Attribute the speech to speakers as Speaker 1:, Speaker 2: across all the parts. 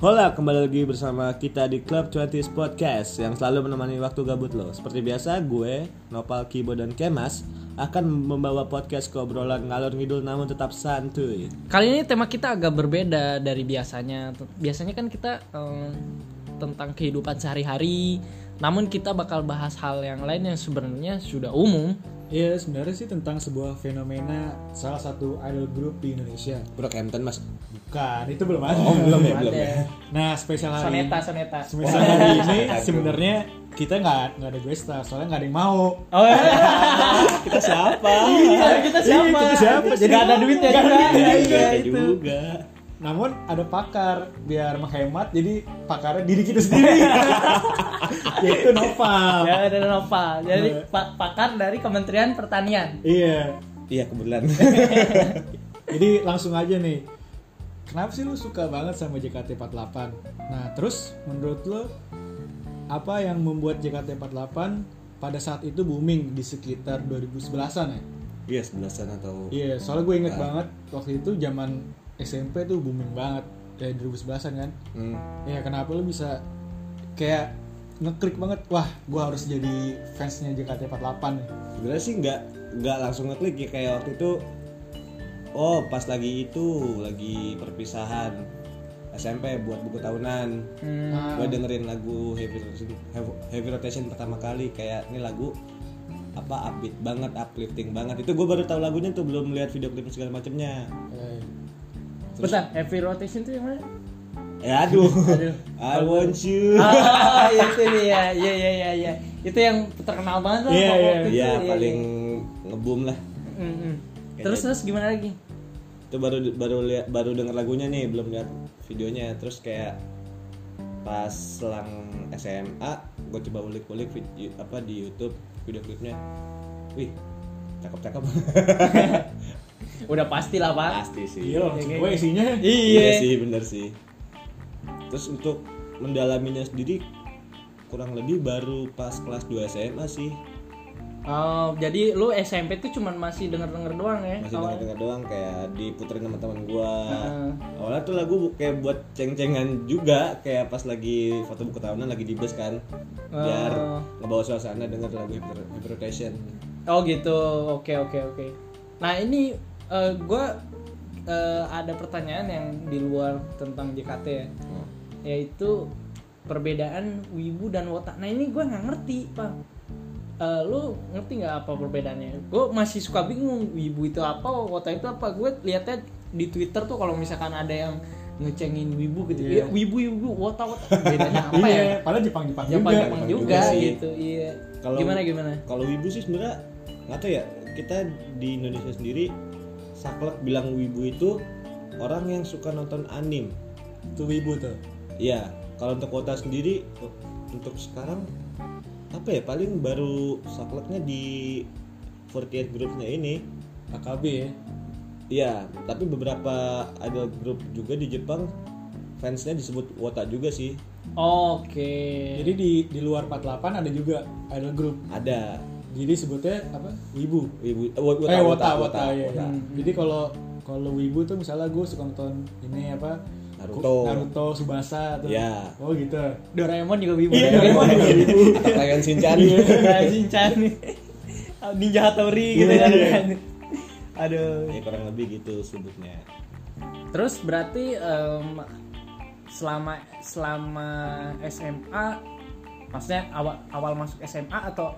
Speaker 1: Hola, kembali lagi bersama kita di Club 20s Podcast yang selalu menemani waktu gabut lo. Seperti biasa, gue, Nopal, Kibo, dan Kemas akan membawa podcast ke obrolan ngalor ngidul namun tetap santuy.
Speaker 2: Kali ini tema kita agak berbeda dari biasanya. T- Biasanya kan kita eh, tentang kehidupan sehari-hari, namun kita bakal bahas hal yang lain yang sebenarnya sudah umum.
Speaker 3: Iya sebenarnya sih tentang sebuah fenomena salah satu idol group di Indonesia.
Speaker 1: Brockhampton, Mas.
Speaker 3: Bukan, itu belum ada.
Speaker 1: Oh, belum ya, belum ya.
Speaker 3: Nah spesial hari
Speaker 2: Soneta, soneta.
Speaker 3: spesial hari ini sebenarnya kita nggak nggak ada guest star soalnya nggak ada yang mau.
Speaker 2: Oh,
Speaker 1: Kita siapa?
Speaker 2: kita
Speaker 3: Iya,
Speaker 2: siapa?
Speaker 3: kita siapa? Jadi
Speaker 2: Gak ada duitnya
Speaker 3: nggak ada
Speaker 2: juga.
Speaker 3: duitnya juga,
Speaker 1: Iya,
Speaker 3: itu.
Speaker 1: juga.
Speaker 3: Namun ada pakar biar menghemat jadi pakarnya diri kita sendiri. Yaitu
Speaker 2: Ya,
Speaker 3: Nopal.
Speaker 2: ada Nopal. Jadi pa- pakar dari Kementerian Pertanian.
Speaker 3: Iya.
Speaker 1: Iya, kebetulan.
Speaker 3: Jadi langsung aja nih. Kenapa sih lu suka banget sama JKT48? Nah, terus menurut lu apa yang membuat JKT48 pada saat itu booming di sekitar 2011-an ya?
Speaker 1: Iya, sebelasan atau
Speaker 3: Iya, soalnya gue inget
Speaker 1: Nah.
Speaker 3: banget waktu itu zaman SMP tuh booming banget dari 2011-an kan.
Speaker 1: Hmm,
Speaker 3: Ya kenapa lu bisa kayak ngeklik banget, wah gue harus jadi fansnya JKT48 nih.
Speaker 1: sebenarnya sih nggak nggak langsung ngeklik ya kayak waktu itu oh pas lagi itu lagi perpisahan SMP buat buku tahunan
Speaker 2: Hmm,
Speaker 3: Nah,
Speaker 1: gue dengerin lagu heavy rotation, heavy rotation pertama kali kayak ini lagu apa upbeat banget uplifting banget itu gue baru tahu lagunya tuh belum lihat video klip segala macemnya
Speaker 2: Iya,
Speaker 3: eh,
Speaker 2: Bentar, heavy rotation itu yang mana?
Speaker 1: ya aduh
Speaker 2: Aduh.
Speaker 1: I want you
Speaker 2: Oh, itu dia. Iya, iya, iya, iya. Itu yang terkenal banget lah
Speaker 3: Iya,
Speaker 2: waktu
Speaker 3: iya.
Speaker 2: itu.
Speaker 1: ya
Speaker 2: Iya,
Speaker 1: paling ngebum lah
Speaker 2: Mm, mm. Terus terus gimana lagi?
Speaker 1: itu baru baru lihat baru denger lagunya nih belum lihat videonya terus kayak pas selang SMA gue coba ulik-ulik video apa di YouTube video klipnya wih cakep-cakep
Speaker 2: Udah pastilah, Pak.
Speaker 1: pasti sih
Speaker 3: Iya, langsung gue isinya.
Speaker 1: Iya
Speaker 2: Iya.
Speaker 1: sih, bener sih. Terus untuk mendalaminya sendiri kurang lebih baru pas kelas 2 SMA sih.
Speaker 2: Oh, jadi lu SMP tuh cuman masih denger-denger doang ya?
Speaker 1: Masih
Speaker 2: awalnya?
Speaker 1: dengar-dengar doang kayak diputerin sama teman gua.
Speaker 2: Heeh.
Speaker 1: Awalnya tuh lagu bu- kayak buat ceng-cengan juga kayak pas lagi foto buku tahunan lagi di bus kan. Biar
Speaker 2: Oh.
Speaker 1: ngebawa suasana denger lagu Hypno- Hypnotation.
Speaker 2: Oh gitu, oke oke oke. Nah ini gue ada pertanyaan yang di luar tentang JKT ya,
Speaker 1: Oh.
Speaker 2: yaitu perbedaan wibu dan wotak. Nah ini gue nggak ngerti pak. Eh, lu ngerti nggak apa perbedaannya? Gue masih suka bingung wibu itu apa, wotak itu apa. Gue liatnya di Twitter tuh kalau misalkan ada yang ngecengin wibu gitu, "Ya,
Speaker 3: Iya.
Speaker 2: wibu wibu wotak wotak bedanya apa ya?
Speaker 3: Iya, padahal Jepang-Jepang juga.
Speaker 2: Jepang Jepang
Speaker 1: Jepang juga
Speaker 2: juga,
Speaker 1: sih.
Speaker 2: gitu, iya.
Speaker 1: Kalau-
Speaker 2: gimana gimana?
Speaker 1: Kalau wibu sih sebenarnya nggak tahu ya. Kita di Indonesia sendiri saklek bilang wibu itu orang yang suka nonton anime.
Speaker 3: Tuh ibu tuh.
Speaker 1: Iya, kalau untuk kota sendiri oh, untuk sekarang apa ya paling baru sakleknya di 48 groupnya ini.
Speaker 3: AKB ya.
Speaker 1: Iya, tapi beberapa idol group juga di Jepang fansnya disebut wota juga sih.
Speaker 2: Oke.
Speaker 3: Jadi di di luar 48 ada juga idol group.
Speaker 1: Ada
Speaker 3: Jadi sebutnya apa? Wibu.
Speaker 1: wibu eh, wota, wota,
Speaker 3: eh,
Speaker 1: iya.
Speaker 3: wota, wota, ya. Jadi kalau kalau wibu tuh misalnya gue suka nonton ini apa?
Speaker 1: Naruto.
Speaker 3: Naruto, Subasa tuh.
Speaker 1: Iya.
Speaker 3: Oh gitu.
Speaker 2: Doraemon juga wibu.
Speaker 3: Iya.
Speaker 1: Doraemon Atau Lion Shinchan. iya,
Speaker 2: Kayak Shinchan nih. Ninja Hattori gitu
Speaker 3: Iya,
Speaker 2: kan. Aduh.
Speaker 1: Ya kurang lebih gitu sebutnya.
Speaker 2: Terus berarti em, selama selama SMA maksudnya awal awal masuk SMA atau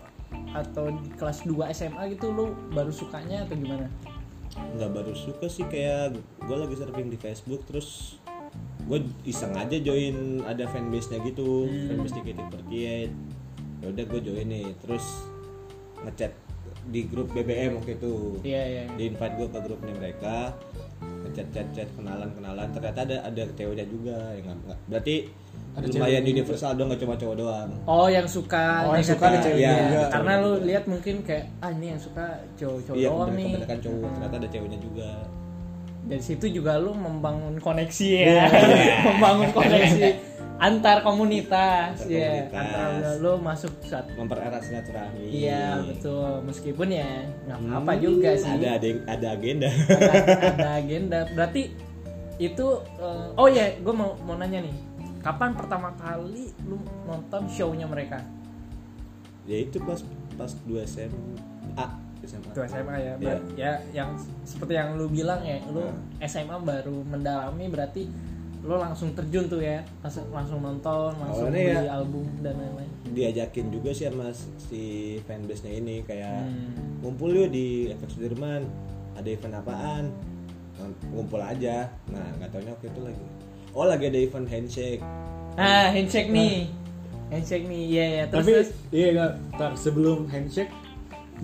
Speaker 2: atau di kelas 2 SMA gitu lu baru sukanya atau gimana?
Speaker 1: nggak baru suka sih kayak gue lagi surfing di Facebook terus gue iseng aja join ada fanbase nya gitu
Speaker 2: Hmm.
Speaker 1: fanbase JKT48 ya udah gue join nih terus ngechat di grup BBM waktu itu
Speaker 2: Iya iya.
Speaker 1: di invite gue ke grupnya mereka ngechat chat chat kenalan kenalan ternyata ada ada ceweknya juga yang nggak- nggak- berarti
Speaker 3: Ada
Speaker 1: lumayan
Speaker 3: cewek.
Speaker 1: universal dong nggak cuma cowok doang
Speaker 2: Oh yang suka
Speaker 3: Oh, yang
Speaker 2: JKT.
Speaker 3: suka ada cewek
Speaker 2: Iya.
Speaker 3: juga.
Speaker 2: Karena lu lihat mungkin kayak ah ini yang suka cowok-cowok
Speaker 1: iya
Speaker 2: doang nih.
Speaker 1: kebanyakan cowok ternyata ada ceweknya juga
Speaker 2: dari situ juga lu membangun koneksi
Speaker 3: Iya.
Speaker 2: ya membangun koneksi antar komunitas
Speaker 1: Antar
Speaker 2: ya
Speaker 1: komunitas.
Speaker 2: antara lu masuk satu
Speaker 1: mempererat silaturahmi
Speaker 2: iya betul meskipun ya nggak apa juga sih
Speaker 1: Hmm. ada ada yang- ada agenda
Speaker 2: Ada- ada agenda berarti itu eh, oh ya gue iya, mau mau nanya nih kapan pertama kali lu nonton show-nya mereka?
Speaker 1: ya itu pas pas 2 SMA SMA
Speaker 2: Itu SMA
Speaker 1: Iya.
Speaker 2: ya. Ber- Ya yang seperti yang lu bilang ya, lu
Speaker 1: Hmm.
Speaker 2: SMA baru mendalami berarti lu langsung terjun tuh ya. Langsung langsung nonton, langsung
Speaker 1: Awalnya
Speaker 2: beli
Speaker 1: ya.
Speaker 2: album dan lain-lain.
Speaker 1: diajakin juga sih sama si fanbase nya ini kayak
Speaker 2: Hmm.
Speaker 1: ngumpul yuk di efek Sudirman ada event apaan Nah, ngumpul aja nah nggak taunya waktu itu lagi oh lagi ada event handshake
Speaker 2: Ah, handshake nih.
Speaker 1: Nah.
Speaker 2: Handshake nih. Iya ya, terus
Speaker 3: Tapi
Speaker 2: terus.
Speaker 3: iya nggak. Ntar, sebelum handshake,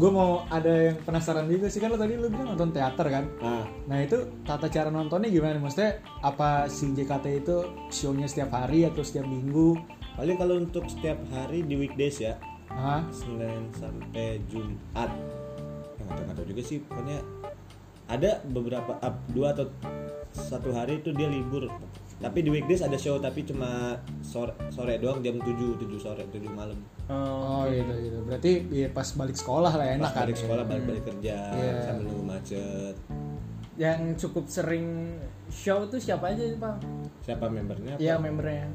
Speaker 3: gue mau ada yang penasaran juga sih kan lo tadi lo bilang nonton teater kan.
Speaker 1: nah
Speaker 3: Nah itu tata cara nontonnya gimana? Maksudnya apa si JKT itu show-nya setiap hari atau setiap minggu?
Speaker 1: paling kalau untuk setiap hari di weekdays ya
Speaker 3: Hah?
Speaker 1: Senin sampai Jumat yang nggak tahu nggak tahu juga sih pokoknya ada beberapa up dua atau satu hari itu dia libur tapi di weekdays ada show tapi cuma sore sore doang jam 7 7 sore 7 malam
Speaker 2: Oh,
Speaker 3: Oh gitu gitu. Berarti ya, pas balik sekolah lah enak
Speaker 1: pas
Speaker 3: kan?
Speaker 1: balik sekolah balik balik kerja
Speaker 3: Iya.
Speaker 1: sambil nunggu macet
Speaker 2: yang cukup sering show tuh siapa aja sih, Bang?
Speaker 1: siapa membernya apa?
Speaker 2: Iya membernya.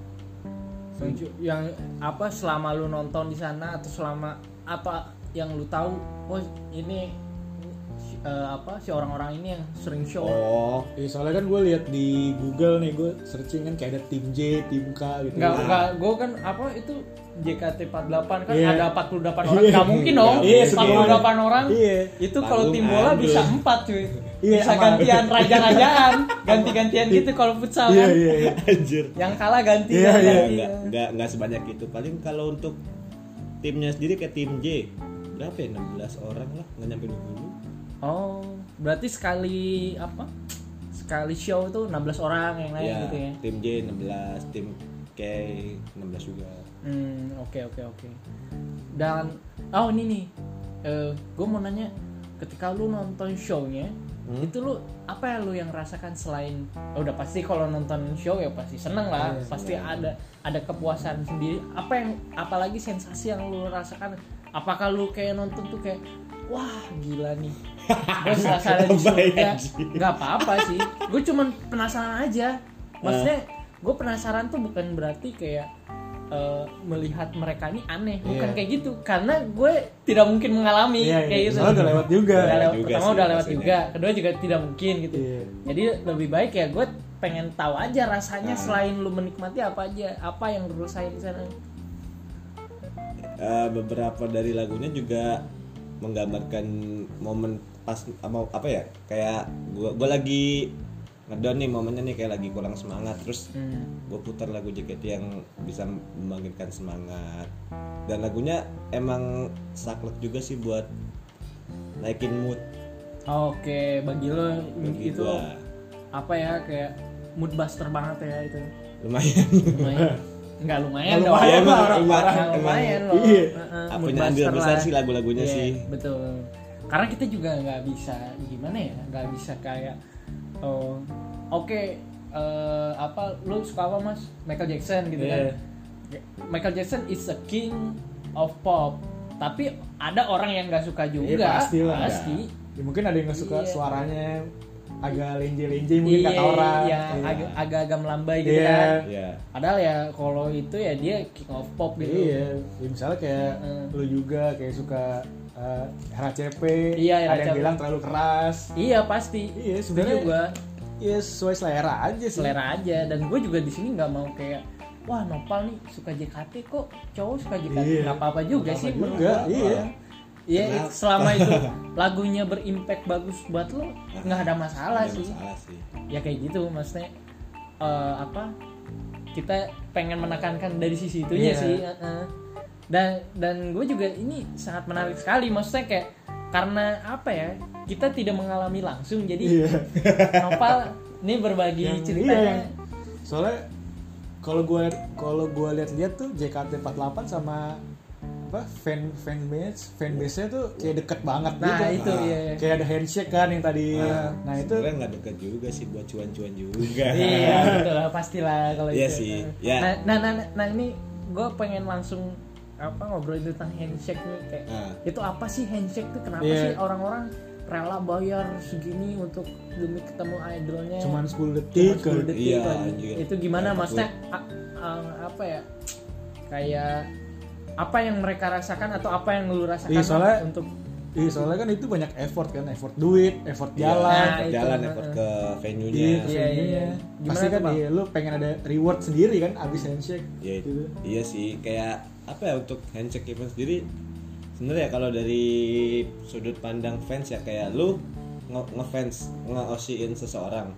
Speaker 2: Yang, ju- yang apa selama lu nonton di sana atau selama apa yang lu tahu, oh ini si- eh, apa si orang-orang ini yang sering show.
Speaker 1: oh
Speaker 3: Iya soalnya kan gue lihat di Google nih gue searching kan kayak ada tim J, tim K gitu.
Speaker 2: Enggak, enggak, gue kan apa itu JKT48 kan
Speaker 3: Iya.
Speaker 2: ada 48 orang, nggak mungkin dong.
Speaker 1: Iya, sedikit.
Speaker 2: 48 orang.
Speaker 3: Iya.
Speaker 2: Itu kalau
Speaker 1: Panggung
Speaker 2: tim bola
Speaker 1: ada.
Speaker 2: bisa 4 cuy.
Speaker 3: Iya,
Speaker 2: bisa
Speaker 3: sama-
Speaker 2: gantian raja-rajaan, ganti-gantian gitu kalau futsal
Speaker 3: Iya
Speaker 2: kan.
Speaker 3: iya. iya.
Speaker 1: anjir
Speaker 2: Yang kalah ganti
Speaker 3: Iya,
Speaker 2: yang
Speaker 3: iya.
Speaker 1: Nggak-
Speaker 2: ganti.
Speaker 1: nggak nggak nggak sebanyak itu paling kalau untuk timnya sendiri kayak tim J berapa ya 16 orang lah nggak nyampe 20
Speaker 2: Oh, berarti sekali apa? Sekali show tuh 16 orang yang lain
Speaker 1: Iya,
Speaker 2: gitu ya.
Speaker 1: tim J 16, tim K 16 juga.
Speaker 2: Hmm, oke oke oke. Dan oh ini nih, gue mau nanya, ketika lu nonton shownya,
Speaker 1: Hmm?
Speaker 2: itu lu apa ya lu yang rasakan selain oh, udah pasti kalau nonton show ya pasti seneng lah,
Speaker 1: Iya,
Speaker 2: pasti ada ada kepuasan sendiri. Apa yang apalagi sensasi yang lu rasakan? Apakah lu kayak nonton tuh kayak wah gila nih gue serasa ada di surga
Speaker 1: Kebayang, Ji.
Speaker 2: nggak apa-apa sih gue cuman penasaran aja maksudnya
Speaker 3: Eh.
Speaker 2: gue penasaran tuh bukan berarti kayak eh, melihat mereka ini aneh bukan
Speaker 3: Iya.
Speaker 2: kayak gitu karena gue tidak mungkin mengalami
Speaker 3: Iya,
Speaker 2: kayak
Speaker 3: iya.
Speaker 2: gitu
Speaker 3: Soalnya udah lewat juga.
Speaker 2: Udah lewat-
Speaker 1: Juga
Speaker 2: pertama
Speaker 1: sih,
Speaker 2: udah lewat
Speaker 1: pastinya.
Speaker 2: juga kedua juga tidak mungkin gitu
Speaker 3: Iya.
Speaker 2: jadi lebih baik ya gue pengen tahu aja
Speaker 3: Ah.
Speaker 2: rasanya selain lu menikmati apa aja apa yang lu rasain di sana
Speaker 1: Eh, beberapa dari lagunya juga menggambarkan momen pas mau apa ya? Kayak gua gua lagi ngedown nih momennya nih kayak lagi kurang semangat terus
Speaker 2: Hmm.
Speaker 3: Hmm.
Speaker 1: gue putar lagu JKT yang bisa membangkitkan semangat dan lagunya emang saklek juga sih buat naikin mood
Speaker 2: Oke, bagi lo
Speaker 1: Bagi
Speaker 2: itu
Speaker 1: gua.
Speaker 2: apa ya kayak mood buster banget ya itu.
Speaker 1: lumayan
Speaker 2: Lumayan. Enggak lumayan,
Speaker 3: Nggak
Speaker 2: dong.
Speaker 3: lumayan,
Speaker 2: Nggak
Speaker 1: emang,
Speaker 2: lumayan,
Speaker 1: emang.
Speaker 2: loh.
Speaker 3: Iya.
Speaker 2: Heeh, mood
Speaker 1: punya andil
Speaker 2: buster
Speaker 1: besar
Speaker 2: lah.
Speaker 1: sih lagu-lagunya
Speaker 2: Iya,
Speaker 1: sih
Speaker 2: Betul. Karena kita juga nggak bisa gimana ya, nggak bisa kayak oh, oke eh, apa lu suka apa mas Michael Jackson gitu
Speaker 3: Iya.
Speaker 2: kan. Michael Jackson is the king of pop. Tapi ada orang yang nggak suka juga.
Speaker 3: Iya, pasti lah.
Speaker 2: Pasti.
Speaker 3: Ya, mungkin ada yang nggak
Speaker 2: Iya.
Speaker 3: suka suaranya agak lenje-lenje mungkin kata orang.
Speaker 2: Iya,
Speaker 3: Iya.
Speaker 2: agak- agak-agak melambai gitu
Speaker 3: Iya.
Speaker 2: kan.
Speaker 1: ya
Speaker 2: Padahal ya kalau itu ya dia king of pop gitu.
Speaker 3: Iya, ya, misalnya kayak
Speaker 2: Mm.
Speaker 3: lu juga kayak suka eh, RACP,
Speaker 2: Iya,
Speaker 3: ada yang
Speaker 2: RACP.
Speaker 3: bilang terlalu keras.
Speaker 2: Iya, pasti. Setuju
Speaker 3: Iya, sebenarnya
Speaker 2: gua
Speaker 3: ya sesuai selera aja sih.
Speaker 2: selera aja dan gue juga di sini nggak mau kayak wah nopal nih suka JKT kok cowok suka JKT
Speaker 3: Iya.
Speaker 2: nggak apa-apa juga
Speaker 3: Nggak
Speaker 2: sih
Speaker 3: apa-apa
Speaker 2: menurut
Speaker 3: juga,
Speaker 2: gua.
Speaker 3: iya.
Speaker 2: Iya, selama itu lagunya berimpact bagus buat lo nggak ada masalah
Speaker 1: Ada
Speaker 2: sih.
Speaker 1: masalah Iya, sih
Speaker 2: ya kayak gitu maksudnya eh, apa kita pengen menekankan dari sisi itunya
Speaker 3: Iya.
Speaker 2: sih eh-eh. dan dan gue juga ini sangat menarik sekali maksudnya kayak karena apa ya kita tidak mengalami langsung jadi
Speaker 3: Iya.
Speaker 2: Nopal ini berbagi
Speaker 3: Yang- iya,
Speaker 2: ceritanya
Speaker 3: yang- Soalnya kalau gua kalau gua lihat-lihat tuh JKT48 sama apa fan fanbase fanbase-nya tuh kayak deket banget
Speaker 2: nah
Speaker 3: gitu.
Speaker 2: itu
Speaker 1: Ah.
Speaker 2: ya
Speaker 3: Kayak ada handshake kan yang tadi. nah itu
Speaker 1: Sebenarnya nggak dekat juga sih buat cuan-cuan juga.
Speaker 2: iya betul lah pastilah kalau
Speaker 1: Iya
Speaker 2: itu.
Speaker 1: sih, ya.
Speaker 2: nah, nah nah nah, nah, ini gue pengen langsung apa ngobrol tentang handshake nih kayak
Speaker 1: Ah.
Speaker 2: itu apa sih handshake tuh kenapa
Speaker 3: Iya.
Speaker 2: sih orang-orang rela bayar segini untuk demi ketemu idolnya
Speaker 3: cuman
Speaker 2: Cuma
Speaker 3: 10 detik.
Speaker 2: 10 detik
Speaker 1: Iya,
Speaker 2: lagi.
Speaker 1: anjir.
Speaker 2: itu gimana
Speaker 1: Takut.
Speaker 2: maksudnya a- um, apa ya kayak apa yang mereka rasakan atau apa yang lu rasakan
Speaker 3: Iya, soalnya-
Speaker 2: untuk
Speaker 3: Ih, soalnya kan itu banyak effort kan, effort duit, effort jalan.
Speaker 2: Nah,
Speaker 1: effort
Speaker 2: itu,
Speaker 1: jalan
Speaker 2: nah,
Speaker 1: effort
Speaker 2: nah.
Speaker 1: ke venue nya
Speaker 3: Iya,
Speaker 2: Iya, iya, iya. Gimana
Speaker 3: Pasti
Speaker 2: tuh,
Speaker 3: kan
Speaker 2: Bang?
Speaker 3: iya, lu pengen ada reward sendiri kan abis handshake.
Speaker 1: ya itu
Speaker 3: Gitu.
Speaker 1: iya sih kayak apa ya untuk handshake event sendiri sebenarnya kalau dari sudut pandang fans ya kayak lu nge- ngefans ngeosiin seseorang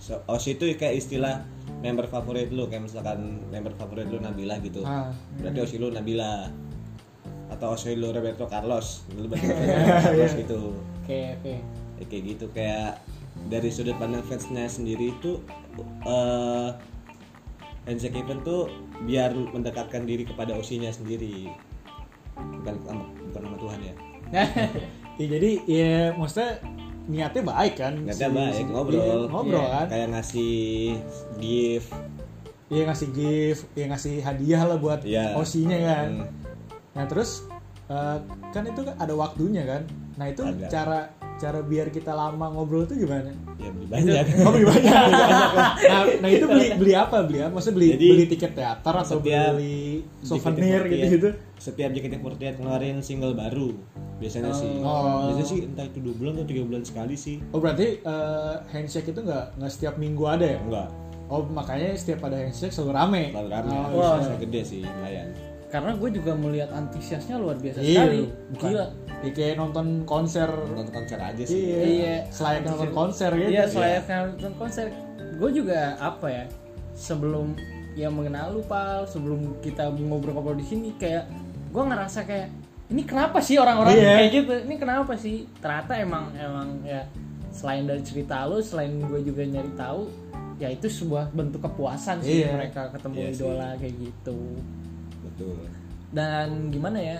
Speaker 1: so, osi itu kayak istilah member favorit lu kayak misalkan member favorit lu Nabila gitu
Speaker 3: Ah.
Speaker 1: berarti osi lu Nabila atau osi lu Roberto Carlos lu berarti Roberto Carlos gitu
Speaker 2: oke oke
Speaker 1: Ya, kayak gitu kayak dari sudut pandang fansnya sendiri itu eh handshake event tuh biar mendekatkan diri kepada osinya sendiri bukan sama- bukan nama Tuhan ya
Speaker 3: Ya, jadi ya maksudnya niatnya baik kan.
Speaker 1: nggak
Speaker 3: si-
Speaker 1: baik
Speaker 3: si-
Speaker 1: ngobrol
Speaker 3: iya, ngobrol
Speaker 2: Iya,
Speaker 3: kan.
Speaker 1: kayak ngasih gift
Speaker 3: Iya ngasih gift, ya ngasih hadiah lah buat
Speaker 1: Iya.
Speaker 3: osinya kan.
Speaker 1: Hmm.
Speaker 3: Nah terus eh, kan itu kan ada waktunya kan. Nah itu
Speaker 1: Ada.
Speaker 3: cara cara biar kita lama ngobrol itu gimana?
Speaker 1: ya beli banyak
Speaker 3: Oh beli banyak.
Speaker 1: Iya,
Speaker 3: nah, nah itu beli beli apa? Beli apa? Maksudnya beli
Speaker 1: Jadi,
Speaker 3: beli tiket teater atau
Speaker 1: setiap
Speaker 3: beli souvenir
Speaker 1: JKT48
Speaker 3: gitu gitu?
Speaker 1: setiap JKT48 ngeluarin single baru biasanya sih
Speaker 3: Oh.
Speaker 1: biasanya sih entah itu dua bulan atau tiga bulan sekali sih
Speaker 3: Oh berarti eh, handshake itu nggak nggak setiap minggu ada ya?
Speaker 1: enggak
Speaker 3: Oh makanya setiap ada handshake selalu rame.
Speaker 1: terlalu rame
Speaker 3: Oh,
Speaker 1: Terus
Speaker 3: iya.
Speaker 1: biasanya gede sih lumayan
Speaker 2: karena gue juga melihat antusiasnya luar biasa
Speaker 3: Iya,
Speaker 2: sekali
Speaker 3: bukan.
Speaker 2: gila
Speaker 3: Ya, kayak nonton konser.
Speaker 1: nonton konser aja sih
Speaker 3: Iya.
Speaker 2: Iya.
Speaker 3: Selayaknya nonton konser gitu.
Speaker 2: Iya, selayaknya nonton konser. Gue juga apa ya? Sebelum ya mengenal lu pal, sebelum kita ngobrol-ngobrol di sini kayak gue ngerasa kayak ini kenapa sih orang-orang
Speaker 3: Iya.
Speaker 2: kayak gitu? Ini kenapa sih? Ternyata emang emang ya selain dari cerita lu, selain gue juga nyari tahu, ya itu sebuah bentuk kepuasan sih
Speaker 3: Iya.
Speaker 2: mereka ketemu
Speaker 1: Iya sih.
Speaker 2: idola kayak gitu
Speaker 1: betul
Speaker 2: dan gimana ya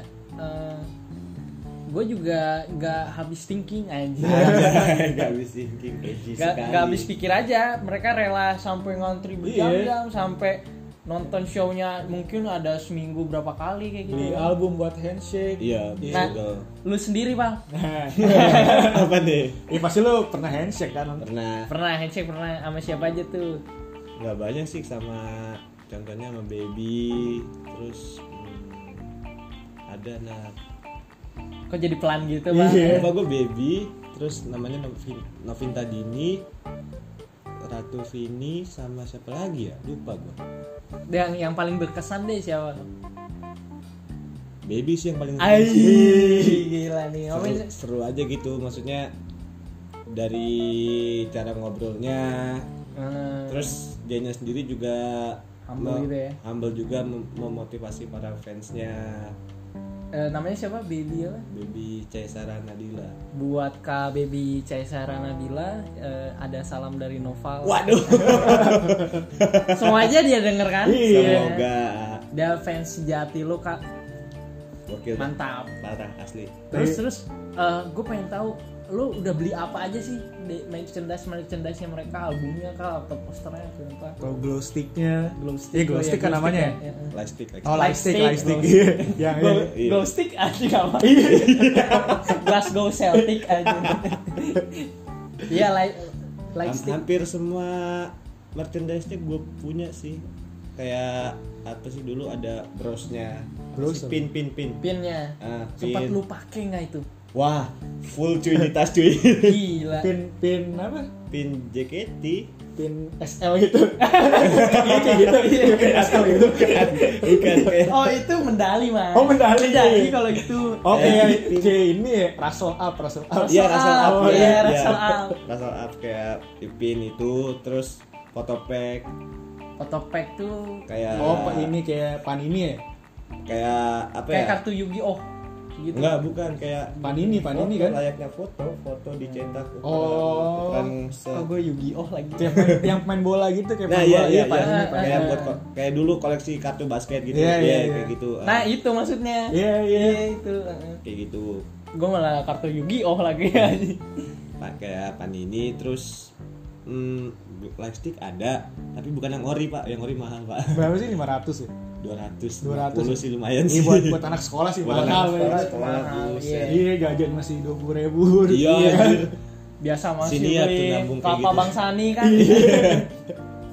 Speaker 2: gue juga nggak habis thinking aja
Speaker 1: gak habis thinking edgy
Speaker 2: nggak
Speaker 1: sekali.
Speaker 2: nggak habis pikir aja mereka rela sampai ngantri berjam-jam sampai nonton shownya mungkin ada seminggu berapa kali kayak gitu
Speaker 3: Beli album buat handshake.
Speaker 1: Iya,
Speaker 3: Iya.
Speaker 1: betul.
Speaker 2: lu sendiri bang
Speaker 3: Nah,
Speaker 1: Apa nih?
Speaker 3: ya pasti lu pernah handshake kan?
Speaker 1: Pernah
Speaker 2: pernah handshake pernah sama siapa aja tuh
Speaker 1: nggak banyak sih sama contohnya sama baby terus hmm, ada nah. anak
Speaker 2: kok jadi pelan gitu bang
Speaker 3: Iya.
Speaker 1: apa gue baby terus namanya Novin, Novinta Dini Ratu Vini sama siapa lagi ya lupa gue
Speaker 2: yang yang paling berkesan deh siapa
Speaker 1: baby sih yang paling
Speaker 2: Ai,
Speaker 1: Ih.
Speaker 2: gila nih
Speaker 1: seru,
Speaker 2: Omel-
Speaker 1: seru aja gitu maksudnya dari cara ngobrolnya
Speaker 2: Eh,
Speaker 1: terus dianya sendiri juga
Speaker 2: Humble gitu ya.
Speaker 1: humble juga mem- memotivasi para fansnya
Speaker 2: eh, namanya siapa baby apa
Speaker 1: baby Caesara Nadila
Speaker 2: buat Kak Baby Caesara Nabila eh, ada salam dari Noval.
Speaker 1: waduh
Speaker 2: Semua aja dia denger kan?
Speaker 1: Iya. semoga
Speaker 2: Dia fans sejati lo Kak.
Speaker 1: gokil dah.
Speaker 2: Mantap.
Speaker 1: parah asli
Speaker 2: Terus terus gue pengen tahu lo udah beli apa aja sih di merchandise merchandise nya mereka albumnya kak atau posternya atau apa?
Speaker 3: Atau glow sticknya.
Speaker 2: Glow
Speaker 3: Iya, glow stick kan namanya. ya?
Speaker 1: plastik lagi
Speaker 3: Oh, light
Speaker 2: Light
Speaker 3: stick,
Speaker 2: stick,
Speaker 3: light stick.
Speaker 2: glow
Speaker 3: Iya, yang
Speaker 2: Glow,
Speaker 3: yang-
Speaker 1: Iya.
Speaker 2: glow stick anjing apa?
Speaker 3: Iya.
Speaker 2: Glasgow Celtic aja. Iya light light
Speaker 1: Ham-
Speaker 2: stick.
Speaker 1: hampir semua merchandise-nya gue punya sih kayak apa sih dulu ada brosnya Apa
Speaker 3: Bros
Speaker 1: sih?
Speaker 3: apa?
Speaker 1: pin pin pin
Speaker 2: Pinnya.
Speaker 1: Ah, pin.
Speaker 2: Sempat lu pakai nggak itu?
Speaker 1: wah full cuy di tas cuy
Speaker 2: Gila.
Speaker 3: Pin pin apa?
Speaker 1: pin JKT
Speaker 3: Pin SL gitu. Iya kayak gitu. Iya, pin SL gitu.
Speaker 1: bukan kayak
Speaker 2: Oh itu mendali mas.
Speaker 3: Oh, mendali.
Speaker 2: Mendali kalau gitu.
Speaker 3: Oh
Speaker 1: Eh,
Speaker 3: kayak
Speaker 1: pin.
Speaker 3: kayak ini ya, Russell up, Russell up.
Speaker 1: Iya
Speaker 2: Russell
Speaker 1: Russell
Speaker 2: Up,
Speaker 1: Up
Speaker 2: iya,
Speaker 1: ya,
Speaker 2: Russell
Speaker 1: iya.
Speaker 2: Up.
Speaker 1: Russell Up kayak Ipin itu terus foto pack
Speaker 2: Otopack tuh
Speaker 1: kayak
Speaker 3: Oh, pa- ini kayak Panini ya?
Speaker 1: kayak apa
Speaker 2: kayak
Speaker 1: ya?
Speaker 2: kartu Yu-Gi-Oh gitu.
Speaker 1: Enggak, bukan kayak
Speaker 3: Panini, Panini
Speaker 1: foto,
Speaker 3: kan?
Speaker 1: layaknya foto, foto dicetak ukuran-
Speaker 3: Oh.
Speaker 1: ukuran se-
Speaker 2: Oh gue Yu-Gi-Oh lagi.
Speaker 1: Iya.
Speaker 3: Yang main, yang main bola gitu kayak
Speaker 1: Nah,
Speaker 3: main
Speaker 1: iya
Speaker 3: bola.
Speaker 1: iya,
Speaker 3: Panini,
Speaker 1: iya.
Speaker 3: Panini.
Speaker 1: kayak buat ko- kayak dulu koleksi kartu basket gitu.
Speaker 3: Iya,
Speaker 1: Iya,
Speaker 3: iya, iya.
Speaker 1: kayak gitu. Ah,
Speaker 2: Nah itu maksudnya.
Speaker 3: Iya, iya.
Speaker 2: itu.
Speaker 1: kayak gitu.
Speaker 2: Gue malah kartu Yu-Gi-Oh lagi
Speaker 1: Iya.
Speaker 2: aja.
Speaker 1: Pakai Panini terus hmm, lipstick ada, tapi bukan yang ori, Pak. Yang ori mahal, Pak.
Speaker 3: iya. Berapa sih 500 ya?
Speaker 1: 200
Speaker 3: 200.
Speaker 1: 200 sih lumayan
Speaker 2: Iya,
Speaker 3: Ini
Speaker 1: sih.
Speaker 3: buat buat anak sekolah sih
Speaker 1: Iya, Buat
Speaker 3: mahal.
Speaker 1: anak sekolah,
Speaker 3: ya.
Speaker 1: sekolah,
Speaker 2: Mahal,
Speaker 1: buset.
Speaker 2: iya.
Speaker 3: Iya, jajan masih 20.000 ribu.
Speaker 1: Iya, anjir.
Speaker 2: Biasa masih
Speaker 1: Sini ya, tuh
Speaker 2: beli
Speaker 1: nyambung kayak
Speaker 2: kelapa
Speaker 1: gitu.
Speaker 2: Bang Sani kan.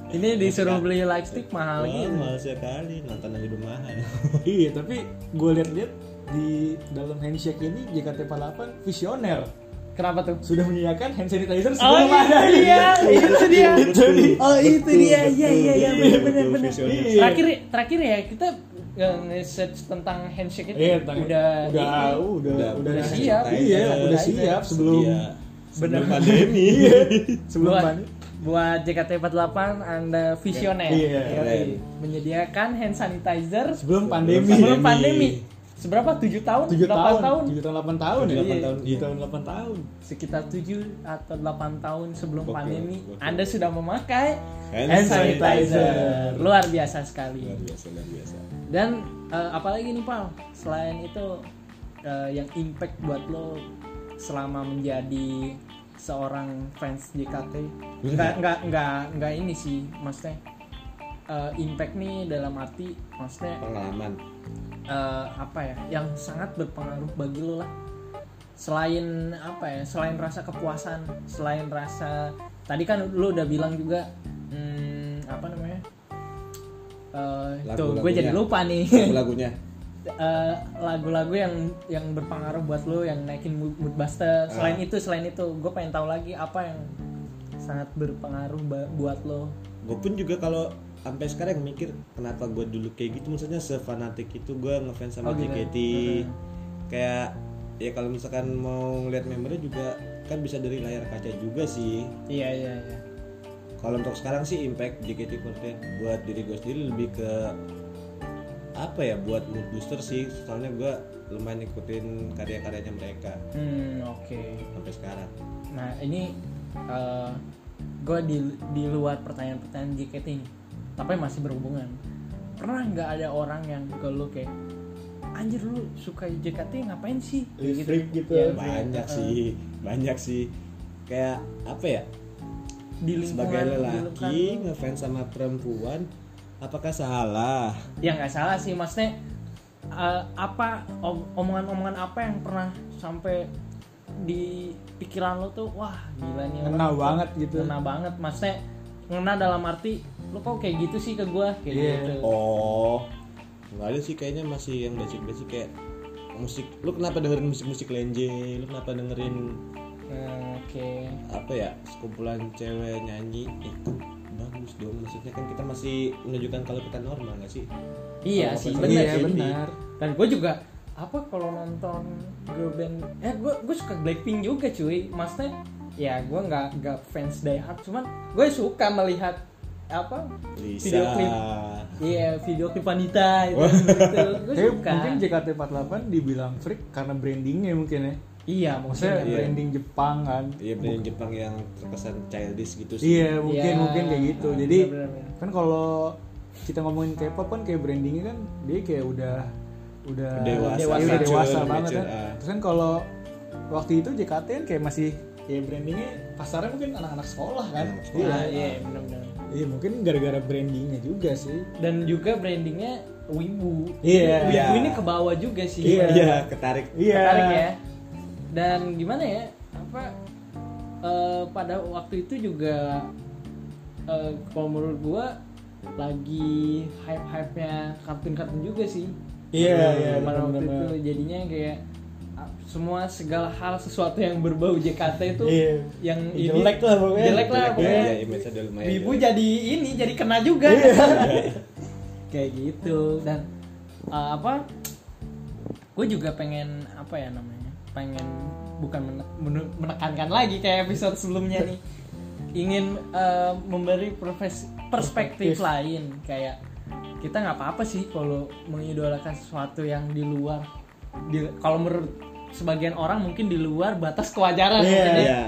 Speaker 2: Ini disuruh beli lipstick mahal
Speaker 1: Wah,
Speaker 2: gitu.
Speaker 1: mahal sekali nonton aja udah mahal
Speaker 3: iya tapi gue lihat-lihat di dalam handshake ini JKT48 visioner
Speaker 2: Kenapa tuh?
Speaker 3: sudah menyediakan hand sanitizer
Speaker 2: Oh
Speaker 3: sebelum
Speaker 2: itu
Speaker 3: ada ini.
Speaker 2: dia, itu dia.
Speaker 3: Itu dia.
Speaker 2: Oh itu dia, iya iya iya benar benar
Speaker 1: Betul,
Speaker 2: benar.
Speaker 1: visioner.
Speaker 3: Iya.
Speaker 2: Terakhir terakhir ya kita eh, nge-search tentang handshake itu ya?
Speaker 3: Iya, tentang-
Speaker 2: udah
Speaker 3: udah,
Speaker 2: ini.
Speaker 3: udah, udah,
Speaker 1: udah
Speaker 2: siap.
Speaker 3: Iya,
Speaker 1: Sanitizer,
Speaker 3: udah siap sebelum
Speaker 1: Iya.
Speaker 2: Bener.
Speaker 1: sebelum pandemi
Speaker 2: Iya.
Speaker 3: sebelum
Speaker 2: buat,
Speaker 3: pandemi.
Speaker 2: buat JKT48 Anda visioner
Speaker 3: Iya,
Speaker 2: Yoi.
Speaker 1: keren.
Speaker 2: menyediakan hand sanitizer
Speaker 3: Sebelum pandemi.
Speaker 2: sebelum
Speaker 1: Pandemi.
Speaker 2: pandemi. Seberapa? 7 tahun?
Speaker 3: 7
Speaker 2: 8
Speaker 3: tahun, 7 tahun 8 tahun ya.
Speaker 1: 8 tahun,
Speaker 3: 7
Speaker 1: iya.
Speaker 3: tahun 8 tahun.
Speaker 2: Sekitar 7 atau 8 tahun sebelum
Speaker 1: Gokil,
Speaker 2: pandemi
Speaker 1: gokil.
Speaker 2: Anda sudah memakai
Speaker 1: Hand
Speaker 2: hand
Speaker 1: sanitizer.
Speaker 2: sanitizer. Luar biasa sekali.
Speaker 1: luar biasa luar biasa
Speaker 2: Dan eh, apalagi nih Pal, selain itu eh, yang impact buat lo selama menjadi seorang fans JKT
Speaker 1: Iya.
Speaker 2: nggak nggak nggak nggak ini sih maksudnya eh, impact nih dalam arti maksudnya
Speaker 1: pengalaman
Speaker 2: eh, apa ya yang sangat berpengaruh bagi lo lah selain apa ya selain rasa kepuasan selain rasa tadi kan lo udah bilang juga hmm, apa namanya Eh, tuh gue
Speaker 1: Lagu-lagunya.
Speaker 2: jadi lupa nih
Speaker 1: lagu-lagunya
Speaker 2: Eh, lagu-lagu yang yang berpengaruh buat lo yang naikin mood, mood buster selain itu selain itu gue pengen tahu lagi apa yang sangat berpengaruh ba- buat lo
Speaker 1: gue pun juga kalau sampai sekarang mikir kenapa gue dulu kayak gitu maksudnya sefanatik itu gue ngefans sama
Speaker 2: Oh, gitu.
Speaker 1: JKT kayak ya kalau misalkan mau ngeliat membernya juga kan bisa dari layar kaca juga sih
Speaker 2: iya iya iya
Speaker 1: kalau untuk sekarang sih impact JKT48 buat diri gue sendiri lebih ke apa ya buat mood booster sih soalnya gue lumayan ngikutin karya-karyanya mereka
Speaker 2: hmm oke
Speaker 1: sampai sekarang
Speaker 2: Nah ini gue di di luar pertanyaan-pertanyaan JKT ini, tapi masih berhubungan. Pernah nggak ada orang yang ke lu kayak anjir lu suka JKT ngapain sih? Kayak
Speaker 3: Lip freak gitu.
Speaker 2: Ya,
Speaker 1: banyak
Speaker 2: eh,
Speaker 1: sih banyak sih kayak apa ya
Speaker 2: Di lingkungan
Speaker 1: sebagai
Speaker 2: di
Speaker 1: lelaki
Speaker 2: lingkungan lu.
Speaker 1: ngefans sama perempuan apakah salah
Speaker 2: ya nggak salah sih maksudnya eh, apa om- omongan-omongan apa yang pernah sampai di pikiran lo tuh wah gila nih
Speaker 3: Ngena banget gitu.
Speaker 2: ngena banget maksudnya ngena dalam arti lo kok kayak gitu sih ke gue kayak
Speaker 3: Iya.
Speaker 2: gitu
Speaker 1: oh nggak ada sih kayaknya masih yang basic basic kayak musik lu kenapa dengerin musik musik lenje lu kenapa dengerin
Speaker 2: Hmm, oke
Speaker 1: apa ya sekumpulan cewek nyanyi itu bagus dong maksudnya kan kita masih menunjukkan kalau kita normal nggak sih
Speaker 2: iya
Speaker 1: Kalau
Speaker 2: sih
Speaker 1: Iya,
Speaker 2: benar
Speaker 3: Iya,
Speaker 1: jadi.
Speaker 3: benar.
Speaker 2: dan gue juga apa kalau nonton girl band eh gue gue suka Blackpink juga cuy maksudnya ya gue nggak nggak fans die hard cuman gue suka melihat apa video
Speaker 1: Lisa
Speaker 2: klip iya video klip wanita itu gitu. gue
Speaker 3: Oh. Tapi
Speaker 2: suka
Speaker 3: mungkin JKT48 dibilang freak karena brandingnya mungkin ya.
Speaker 2: iya maksudnya
Speaker 3: Maksudnya
Speaker 1: Iya.
Speaker 3: branding Jepang kan.
Speaker 1: iya brand Jepang yang terkesan childish gitu sih
Speaker 3: Iya, mungkin
Speaker 2: Iya.
Speaker 3: mungkin kayak gitu.
Speaker 2: Nah,
Speaker 3: Jadi
Speaker 2: benar-benar.
Speaker 3: kan kalau kita ngomongin K-pop kan kayak brandingnya kan dia kayak udah udah
Speaker 1: Dewasa.
Speaker 3: iya, udah
Speaker 2: Dewasa.
Speaker 3: dewasa
Speaker 1: Mature,
Speaker 3: banget kan.
Speaker 1: mature, ah.
Speaker 3: Terus kan kalau waktu itu JKT kan kayak masih ya brandingnya pasarnya mungkin anak-anak sekolah kan.
Speaker 1: Anak sekolah.
Speaker 2: Nah,
Speaker 3: Iya.
Speaker 2: iya benar-benar
Speaker 3: Iya, mungkin gara-gara brandingnya juga sih.
Speaker 2: dan juga brandingnya wibu
Speaker 3: Iya.
Speaker 2: wibu ini ke bawah juga sih
Speaker 3: Iya.
Speaker 1: iya ketarik
Speaker 3: Iya.
Speaker 2: Tertarik ya. Dan gimana ya? Apa eh, pada waktu itu juga eh, kalau menurut gua lagi hype-hype-nya kartun-kartun juga sih.
Speaker 3: Iya,
Speaker 2: Eh,
Speaker 3: iya,
Speaker 2: pada waktu
Speaker 3: benar-benar.
Speaker 2: itu jadinya kayak ah, semua segala hal sesuatu yang berbau JKT itu
Speaker 3: Iya.
Speaker 2: yang
Speaker 3: Ya,
Speaker 2: ini-
Speaker 3: jelek lah pokoknya.
Speaker 2: jelek lah
Speaker 1: Jelek,
Speaker 2: pokoknya
Speaker 1: iya, image-nya udah lumayan
Speaker 2: Wibu
Speaker 1: jelek.
Speaker 2: jadi ini jadi kena juga kayak gitu dan eh, apa gue juga pengen apa ya namanya pengen bukan mene- menu- menekankan lagi kayak episode sebelumnya nih ingin eh, memberi profes- perspektif
Speaker 3: Perspektif.
Speaker 2: lain kayak kita nggak apa-apa sih kalau mengidolakan sesuatu yang di luar di- kalau menurut sebagian orang mungkin di luar batas kewajaran
Speaker 3: Iya.
Speaker 2: mungkin ya.
Speaker 1: iya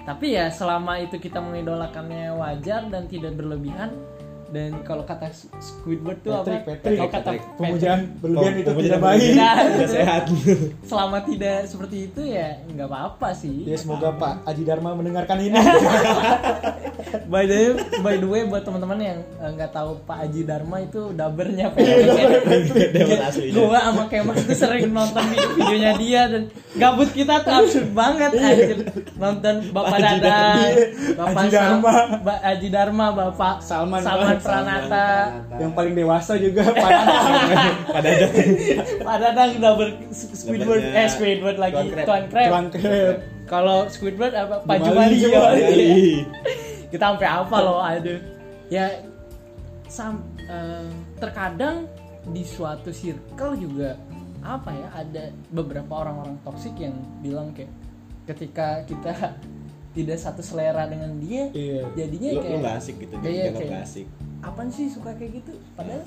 Speaker 2: tapi ya selama itu kita mengidolakannya wajar dan tidak berlebihan dan kalau kata Squidward tuh
Speaker 3: Patrick,
Speaker 2: apa?
Speaker 3: Patrick.
Speaker 2: Kalau kata
Speaker 1: Patrick.
Speaker 3: Pemujaan berlebihan
Speaker 1: Pem-
Speaker 3: itu
Speaker 1: pemujaan
Speaker 3: tidak baik.
Speaker 1: berlebihan tidak sehat
Speaker 2: selama tidak seperti itu ya nggak apa-apa sih.
Speaker 1: Iya.
Speaker 3: Ya semoga Pak Aji Dharma mendengarkan ini.
Speaker 2: By the by the way buat teman-teman yang eh, nggak tahu Pak Aji Dharma itu dabernya
Speaker 3: Iya,
Speaker 2: Patrick.
Speaker 1: Dewa aslinya
Speaker 2: Gua sama Kemal tuh sering nonton video- videonya dia dan gabut kita tuh absurd banget anjir. Nonton Bapak
Speaker 1: Haji
Speaker 2: Dadang,
Speaker 3: Iya. Dharma. Iya,
Speaker 2: Bapak
Speaker 3: Haji Dharma.
Speaker 2: Sa- Ba- Haji Dharma, Bapak
Speaker 3: Salman.
Speaker 2: Salman
Speaker 3: Salman
Speaker 2: Pranata.
Speaker 3: yang
Speaker 1: Iya,
Speaker 3: paling dewasa juga Pak.
Speaker 1: pada ada
Speaker 2: Pak Dadang udah ber Squidward
Speaker 1: Dapatnya
Speaker 2: eh Squidward lagi
Speaker 1: Tuan Crab.
Speaker 2: Tuan
Speaker 3: Tuan
Speaker 2: Crab.
Speaker 3: Krep.
Speaker 2: Kalau Squidward apa Pak
Speaker 3: Jumali,
Speaker 2: Jumali.
Speaker 3: Jumali.
Speaker 2: Iya. Kita sampai apa loh aduh. Ya sam- eh, terkadang di suatu circle juga apa ya ada beberapa orang-orang toksik yang bilang kayak ketika kita tidak satu selera dengan dia
Speaker 3: Iya.
Speaker 2: jadinya
Speaker 1: lu lu
Speaker 2: kayak
Speaker 1: nggak asik gitu
Speaker 2: Iya,
Speaker 1: dia nggak
Speaker 2: kayak-
Speaker 1: nggak asik
Speaker 2: apaan sih suka kayak gitu padahal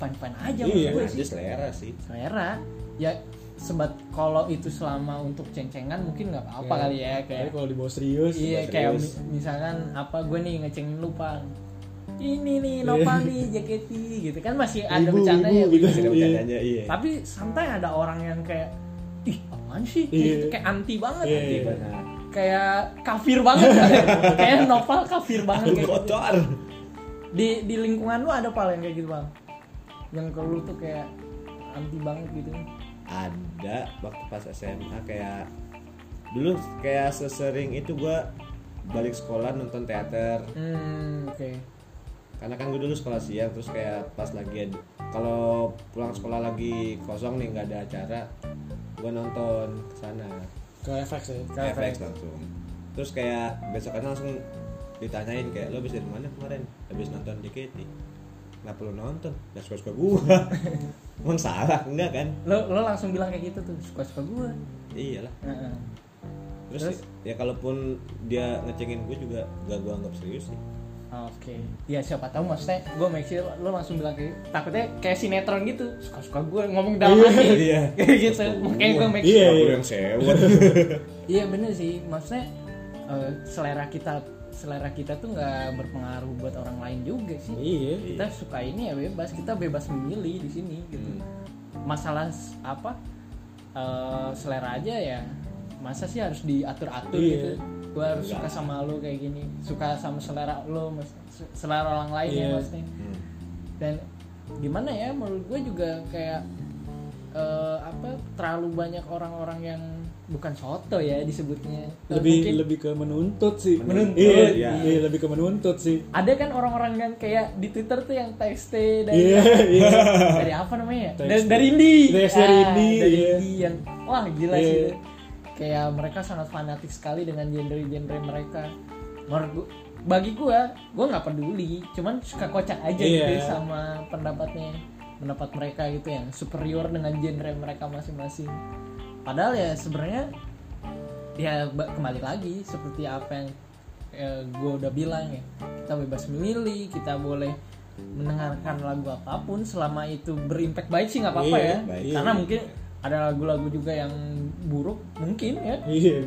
Speaker 2: fine-fine aja
Speaker 1: iya
Speaker 2: menurut gue
Speaker 1: dia selera sih
Speaker 2: selera ya sebat kalau itu selama untuk ceng-cengan mungkin nggak apa-apa
Speaker 3: Iya.
Speaker 2: kali ya
Speaker 3: Tapi
Speaker 2: kayak
Speaker 3: kalau dibawa serius,
Speaker 2: iya
Speaker 1: serius.
Speaker 2: kayak mi- misalkan apa gue nih ngecengin lu Pak. ini nih Nopal nih JKT gitu kan masih ada
Speaker 3: Iya. Ibu,
Speaker 2: bercandanya
Speaker 3: ibu, gitu.
Speaker 1: masih ada
Speaker 3: Iya.
Speaker 1: bercandanya iya
Speaker 2: tapi santai ada orang yang kayak ih apaan sih
Speaker 3: Iya.
Speaker 2: Gitu, kayak anti banget
Speaker 3: Iya.
Speaker 1: Iya, benar.
Speaker 2: kayak kafir banget kayak Nopal kafir banget
Speaker 1: Lu
Speaker 2: kayak gitu
Speaker 1: kotor
Speaker 2: di di lingkungan lu ada pal yang kayak gitu bang yang ke lu tuh kayak anti banget gitu
Speaker 1: ada waktu pas SMA kayak dulu kayak sesering itu gua balik sekolah nonton teater
Speaker 2: hmm oke
Speaker 1: karena kan gue dulu sekolah siang terus kayak pas lagi ad- kalau pulang sekolah lagi kosong nih nggak ada acara gue nonton ke sana
Speaker 3: ke FX ya.
Speaker 1: Ke FX langsung Nah, terus kayak besokannya langsung ditanyain kayak lo habis dari mana kemarin habis nonton JKT nggak perlu nonton ya suka suka gue emang salah enggak kan
Speaker 2: lo lo langsung bilang kayak gitu tuh suka suka gue
Speaker 1: iyalah
Speaker 2: Heeh.
Speaker 1: terus,
Speaker 2: Terus?
Speaker 1: ya kalaupun dia ngecengin gue juga gak gue anggap serius sih
Speaker 2: oke ya siapa tahu maksudnya gue make sure lo langsung bilang kayak gitu. takutnya kayak sinetron gitu suka suka gue ngomong dalam hati
Speaker 1: iya
Speaker 2: kayak gitu makanya gue make
Speaker 3: Iya,
Speaker 2: sure
Speaker 1: aku
Speaker 3: iya.
Speaker 1: yang sewot
Speaker 2: iya bener sih maksudnya eh, selera kita selera kita tuh nggak berpengaruh buat orang lain juga sih
Speaker 3: Iya.
Speaker 2: kita suka ini ya bebas kita bebas memilih di sini gitu
Speaker 3: Hmm.
Speaker 2: masalah s- apa eh, selera aja ya masa sih harus diatur atur
Speaker 3: Iya.
Speaker 2: gitu gue harus
Speaker 1: Enggak.
Speaker 2: suka sama lo kayak gini suka sama selera lo selera orang lain
Speaker 3: Iya.
Speaker 2: ya maksudnya
Speaker 1: Hmm.
Speaker 2: dan gimana ya menurut gue juga kayak eh, apa terlalu banyak orang-orang yang bukan soto ya disebutnya Atau
Speaker 3: Lebih
Speaker 2: mungkin
Speaker 3: lebih ke menuntut sih.
Speaker 1: Menuntut,
Speaker 3: Iya,
Speaker 1: iya.
Speaker 3: iya, lebih ke menuntut sih.
Speaker 2: ada kan orang-orang yang kayak di Twitter tuh yang TXT dari
Speaker 3: Iya, iya.
Speaker 2: dari apa namanya?
Speaker 3: Thanks.
Speaker 2: Dari, dari Indi.
Speaker 3: Dari- dari
Speaker 2: Ah,
Speaker 3: Indi,
Speaker 2: dari
Speaker 3: iya.
Speaker 2: Indi yang wah gila
Speaker 3: Iya.
Speaker 2: sih. itu. Kayak mereka sangat fanatik sekali dengan genre-genre mereka. Menurut gua- bagi gua, gua nggak peduli, cuman suka kocak aja
Speaker 3: Iya.
Speaker 2: gitu sama pendapatnya pendapat mereka gitu yang superior dengan genre mereka masing-masing. Padahal ya sebenarnya ya ba- kembali lagi seperti apa yang gue udah bilang ya kita bebas memilih kita boleh mendengarkan lagu apapun selama itu berimpact baik sih nggak apa-apa
Speaker 3: Iya,
Speaker 2: ya
Speaker 1: baik.
Speaker 2: karena
Speaker 1: Iya.
Speaker 2: mungkin ada lagu-lagu juga yang buruk mungkin ya
Speaker 3: Iya.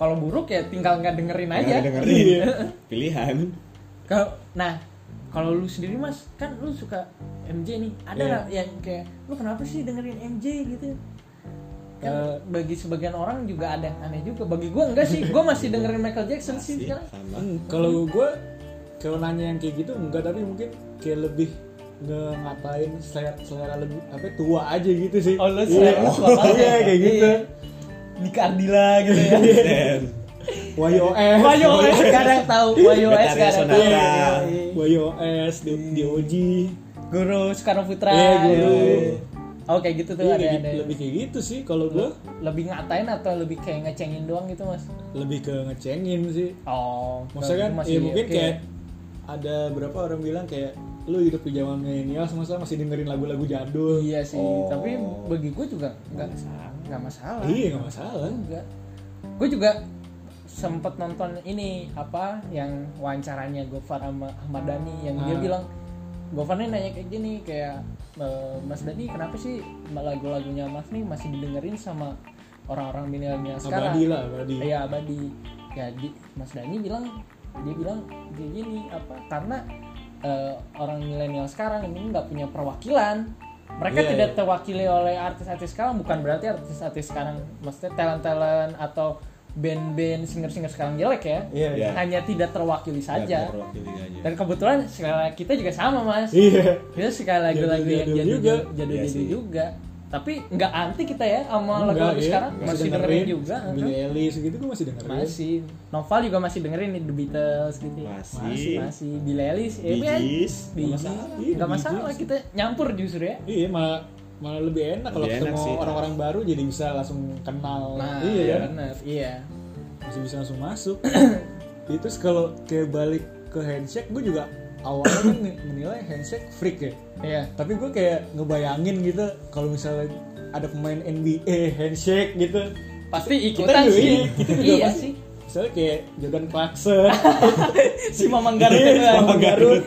Speaker 2: kalau buruk ya tinggal nggak dengerin aja
Speaker 1: Nggak dengerin
Speaker 3: Iya.
Speaker 1: pilihan
Speaker 2: kalau nah kalau lu sendiri mas kan lu suka MJ nih ada
Speaker 3: Iya.
Speaker 2: nggak yang kayak lu kenapa sih dengerin MJ gitu kan
Speaker 3: Eh,
Speaker 2: bagi sebagian orang juga ada yang aneh juga bagi gua enggak sih gua masih dengerin Michael Jackson
Speaker 1: sih
Speaker 2: sih sekarang
Speaker 1: sama
Speaker 3: Hmm, kalau gue kalau nanya yang kayak gitu enggak tapi mungkin kayak lebih nge ngatain selera, selera lebih apa tua aja gitu sih.
Speaker 2: oh lu
Speaker 3: Iya.
Speaker 2: selera lu suka banget
Speaker 3: Iya,
Speaker 2: ya?
Speaker 3: kayak gitu.
Speaker 2: Iya. Nika Ardila gitu ya
Speaker 1: dan
Speaker 3: YOS.
Speaker 2: Wayo
Speaker 3: Iya,
Speaker 2: OS sekarang tahu Wayo OS
Speaker 1: Betaria
Speaker 2: sekarang
Speaker 1: Sonata.
Speaker 2: Iya, iya, iya.
Speaker 3: YOS, D- DOG.
Speaker 2: Guru Soekarno Putra
Speaker 3: Iya, guru.
Speaker 2: Oke gitu tuh
Speaker 3: Iya,
Speaker 2: ada
Speaker 3: kayak
Speaker 2: ada
Speaker 3: gitu- lebih kayak gitu sih kalau gue
Speaker 2: lebih ngatain atau lebih kayak ngecengin doang gitu mas
Speaker 3: lebih ke ngecengin sih.
Speaker 2: oh
Speaker 3: Maksudnya kan
Speaker 2: berarti
Speaker 3: ya mungkin
Speaker 2: oke.
Speaker 3: kayak ada berapa orang bilang kayak lu hidup di zaman milenial masa masih dengerin lagu-lagu jadul.
Speaker 2: iya sih
Speaker 1: Oh.
Speaker 2: tapi bagi gue juga nggak
Speaker 1: masalah.
Speaker 2: nggak masalah
Speaker 3: Iya, nggak masalah.
Speaker 2: juga gue juga sempet nonton ini apa yang wawancaranya Gofar sama Ahmad Dhani yang dia
Speaker 3: Ah.
Speaker 2: bilang Gofar nih nanya kayak gini kayak e, Mas Dhani kenapa sih lagu-lagunya Mas nih masih didengerin sama orang-orang milenial sekarang
Speaker 3: Abadi lah, abadi.
Speaker 2: Iya abadi. Ya di- Mas Dani bilang dia bilang dia gini apa karena eh, orang milenial sekarang ini nggak punya perwakilan. Mereka
Speaker 3: Iya,
Speaker 2: tidak terwakili oleh artis-artis sekarang. Bukan berarti artis-artis sekarang, maksudnya talent-talent atau band-band singer-singer sekarang jelek ya.
Speaker 3: Iya,
Speaker 1: Iya.
Speaker 2: Hanya tidak terwakili
Speaker 1: Nggak
Speaker 2: saja.
Speaker 1: terwakili aja.
Speaker 2: Dan kebetulan selera kita juga sama mas.
Speaker 3: Iya.
Speaker 2: Kita suka lagu-lagu yang jadul
Speaker 3: Jadul-jadul juga.
Speaker 2: jadul jadul
Speaker 1: Iya sih.
Speaker 2: juga. Tapi nggak anti kita ya sama
Speaker 3: Enggak,
Speaker 2: lagu-lagu
Speaker 3: iya.
Speaker 2: sekarang.
Speaker 3: Masih
Speaker 2: Masih
Speaker 3: dengerin.
Speaker 2: dengerin juga.
Speaker 3: Billie Eilish gitu gue masih dengerin.
Speaker 2: Masih. Iya. Noval juga masih dengerin nih The Beatles gitu. ya.
Speaker 1: Masih.
Speaker 2: Masih. Billie Eilish. ya, kan?
Speaker 1: Bijis.
Speaker 2: Bee Gees.
Speaker 3: Nggak masalah. Iya,
Speaker 2: Nggak
Speaker 3: Bee
Speaker 2: masalah
Speaker 3: Gees.
Speaker 2: kita nyampur justru ya.
Speaker 3: Iya, malah malah lebih enak kalau
Speaker 1: Lebih enak
Speaker 3: ketemu
Speaker 1: sih.
Speaker 3: orang-orang baru jadi bisa langsung kenal.
Speaker 2: Nah,
Speaker 3: iya
Speaker 2: iya,
Speaker 3: kan?
Speaker 2: benar. Iya.
Speaker 3: Masih bisa langsung masuk. Itu terus kalau kayak balik ke handshake gue juga awalnya kan menilai handshake freak ya.
Speaker 2: Iya.
Speaker 3: Tapi gue kayak ngebayangin gitu kalau misalnya ada pemain NBA handshake gitu.
Speaker 2: Pasti
Speaker 3: Kita
Speaker 2: ikutan
Speaker 3: juga,
Speaker 2: sih.
Speaker 3: iya, kita juga
Speaker 2: Iya
Speaker 3: pasti.
Speaker 2: sih.
Speaker 3: Misalnya kayak Jordan Clarkson,
Speaker 2: Si Mamang Garut.
Speaker 3: Iya,
Speaker 2: ya,
Speaker 3: sama
Speaker 2: Mamang
Speaker 3: Garut.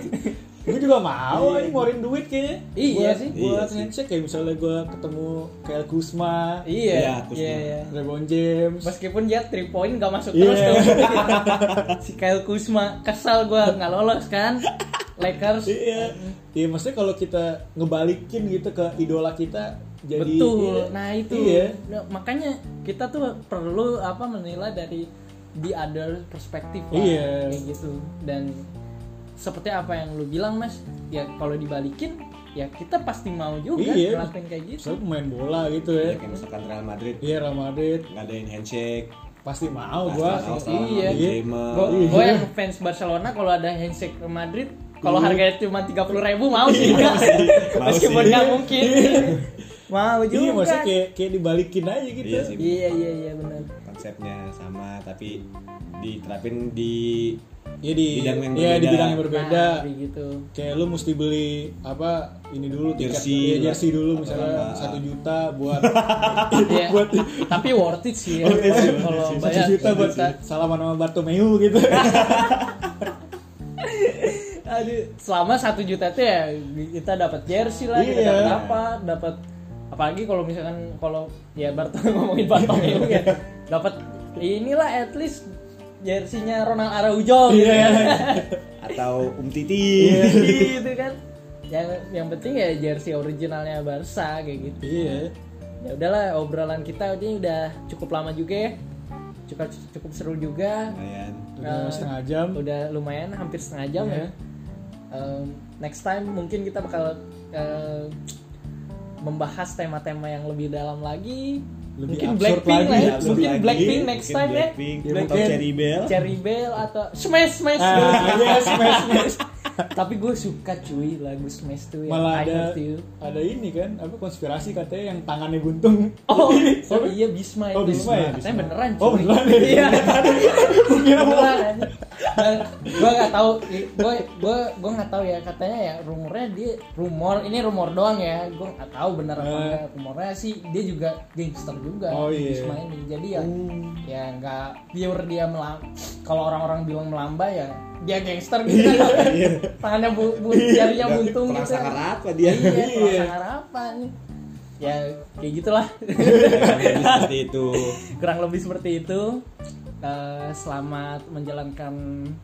Speaker 3: Gue juga mau ini ngeluarin duit kayaknya.
Speaker 2: Iya
Speaker 3: Buat-
Speaker 2: sih.
Speaker 1: Iya
Speaker 3: Buat
Speaker 1: sih.
Speaker 3: handshake kayak misalnya gue ketemu kayak Kuzma,
Speaker 2: Iya.
Speaker 1: Iya, aku
Speaker 2: Iya.
Speaker 1: setuju.
Speaker 2: iya.
Speaker 3: LeBron James.
Speaker 2: Meskipun dia 3 point gak masuk
Speaker 3: Iya.
Speaker 2: terus tuh. si Kyle Kuzma kesal gua nggak lolos kan. Lakers.
Speaker 3: Iya. Iya, maksudnya kalau kita ngebalikin gitu ke idola kita jadi
Speaker 2: Betul.
Speaker 3: iya.
Speaker 2: Nah, itu.
Speaker 3: Iya.
Speaker 2: Nah, makanya kita tuh perlu apa menilai dari the other perspektif lah
Speaker 3: Iya.
Speaker 2: kayak gitu. Dan seperti apa yang lu bilang, Mas, ya kalau dibalikin ya kita pasti mau juga
Speaker 3: Iya.
Speaker 2: ngelakuin kayak gitu.
Speaker 3: Misalnya pemain bola gitu ya.
Speaker 1: Ya, kayak misalkan Real Madrid
Speaker 3: Iya, Real Madrid
Speaker 1: ngadain handshake.
Speaker 3: pasti mau
Speaker 1: Pasti
Speaker 3: gua.
Speaker 1: mau sama
Speaker 2: Iya.
Speaker 1: Big Gamer.
Speaker 2: Gue
Speaker 3: Iya.
Speaker 2: yang fans Barcelona kalau ada handshake ke Madrid, kalau
Speaker 3: Iya.
Speaker 2: harganya cuma 30.000 ribu mau juga.
Speaker 1: Mau
Speaker 2: Meskipun
Speaker 1: sih.
Speaker 2: nggak mungkin. mau juga.
Speaker 3: Iya, maksudnya kayak kayak dibalikin aja gitu.
Speaker 1: Iya sih.
Speaker 2: Iya iya iya benar.
Speaker 1: Konsepnya sama tapi diterapin di
Speaker 3: Iya di
Speaker 1: Bidang yang
Speaker 3: iya, di
Speaker 1: berbeda.
Speaker 3: bidang yang berbeda.
Speaker 2: Nah, kayak gitu.
Speaker 3: kayak lu mesti beli apa ini dulu tiket
Speaker 1: Jersey.
Speaker 3: ya, jersey dulu
Speaker 1: Atau
Speaker 3: misalnya
Speaker 1: apa.
Speaker 3: satu juta buat
Speaker 2: Iya.
Speaker 3: buat
Speaker 2: Tapi worth it sih ya.
Speaker 1: Worth it sih,
Speaker 2: Kalau
Speaker 1: worth it sih.
Speaker 3: satu
Speaker 2: bayar gitu.
Speaker 3: juta buat
Speaker 2: sejuta.
Speaker 3: salaman sama Bartomeu gitu
Speaker 2: Aduh, selama satu juta itu ya kita dapat jersey lah, kita
Speaker 3: Iya.
Speaker 2: dapat apa, dapat apalagi kalau misalkan kalau ya Bartol ngomongin Bartol ya, dapat inilah at least jersinya Ronald Araujo gitu
Speaker 3: Iya.
Speaker 2: kan.
Speaker 1: atau Um Titi.
Speaker 2: gitu kan. Yang yang penting ya jersey originalnya Barca kayak gitu.
Speaker 3: iya
Speaker 2: ya udahlah obrolan kita ini udah cukup lama juga ya cukup cukup seru juga
Speaker 1: Lumayan.
Speaker 3: udah
Speaker 2: Nah.
Speaker 3: setengah jam
Speaker 2: udah lumayan hampir setengah jam
Speaker 3: Iya.
Speaker 2: ya Em, next time mungkin kita bakal eh, membahas tema-tema yang lebih dalam lagi
Speaker 3: Lebih
Speaker 2: mungkin
Speaker 3: absurd
Speaker 2: Blackpink
Speaker 3: lagi,
Speaker 2: lah ya
Speaker 1: Absurd
Speaker 2: mungkin
Speaker 1: lagi,
Speaker 2: Blackpink next
Speaker 1: mungkin
Speaker 2: time
Speaker 1: Blackpink,
Speaker 3: Ya,
Speaker 1: atau
Speaker 3: mungkin.
Speaker 1: Cherry Bell.
Speaker 2: ya Cherry Bell atau Smash Smash
Speaker 3: ah iya smash smash
Speaker 2: tapi gue suka cuy lagu Smash tuh yang Iya,
Speaker 3: malah
Speaker 2: I
Speaker 3: ada
Speaker 2: Hurt You
Speaker 3: ada ini kan apa konspirasi katanya yang tangannya buntung
Speaker 2: Oh,
Speaker 3: Ini,
Speaker 2: oh
Speaker 3: apa?
Speaker 2: iya Bisma itu.
Speaker 3: Oh, Bisma ya,
Speaker 2: Katanya
Speaker 3: Bisma.
Speaker 2: beneran.
Speaker 3: Oh,
Speaker 2: cuy.
Speaker 3: beneran ya?
Speaker 2: Iya.
Speaker 3: Gua kira mau-
Speaker 2: beneran. aja. Nah, gua nggak tahu. Gua gua gua nggak tahu ya katanya ya rumornya dia rumor ini rumor doang ya. Gua nggak tahu bener apa
Speaker 3: Eh.
Speaker 2: enggak. Rumornya sih dia juga gangster juga.
Speaker 3: Oh, iya. Hmm.
Speaker 2: Bisma ini. Jadi ya ya nggak pure dia melam. Kalau orang-orang bilang melamba ya dia gangster gitu.
Speaker 3: Iya,
Speaker 2: Tangannya bu, bu jarinya
Speaker 1: Nggak,
Speaker 2: buntung gitu.
Speaker 1: perasaan apa dia?
Speaker 2: Iya,
Speaker 3: Iya.
Speaker 2: perasaan harapan. Ya kayak gitulah.
Speaker 1: Jadi seperti itu.
Speaker 2: kurang lebih seperti itu Eh, selamat menjalankan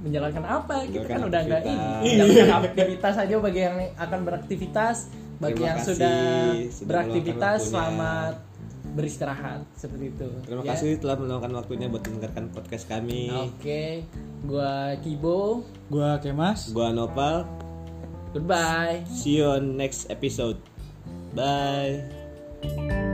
Speaker 2: menjalankan apa kita
Speaker 1: Menjalankan
Speaker 2: kan udah nggak ini
Speaker 1: aktivitas.
Speaker 2: menjalankan aktivitas aja bagi yang akan beraktivitas bagi
Speaker 1: Terima
Speaker 2: yang
Speaker 1: kasih
Speaker 2: sudah
Speaker 1: sudah
Speaker 2: beraktivitas
Speaker 1: meluangkan
Speaker 2: selamat beristirahat seperti itu
Speaker 1: Terima
Speaker 2: ya.
Speaker 1: kasih telah meluangkan waktunya buat mendengarkan podcast kami.
Speaker 2: oke gua Kibo
Speaker 3: gua kemas
Speaker 1: Gua Nopal.
Speaker 2: goodbye
Speaker 1: See you on next episode. Bye.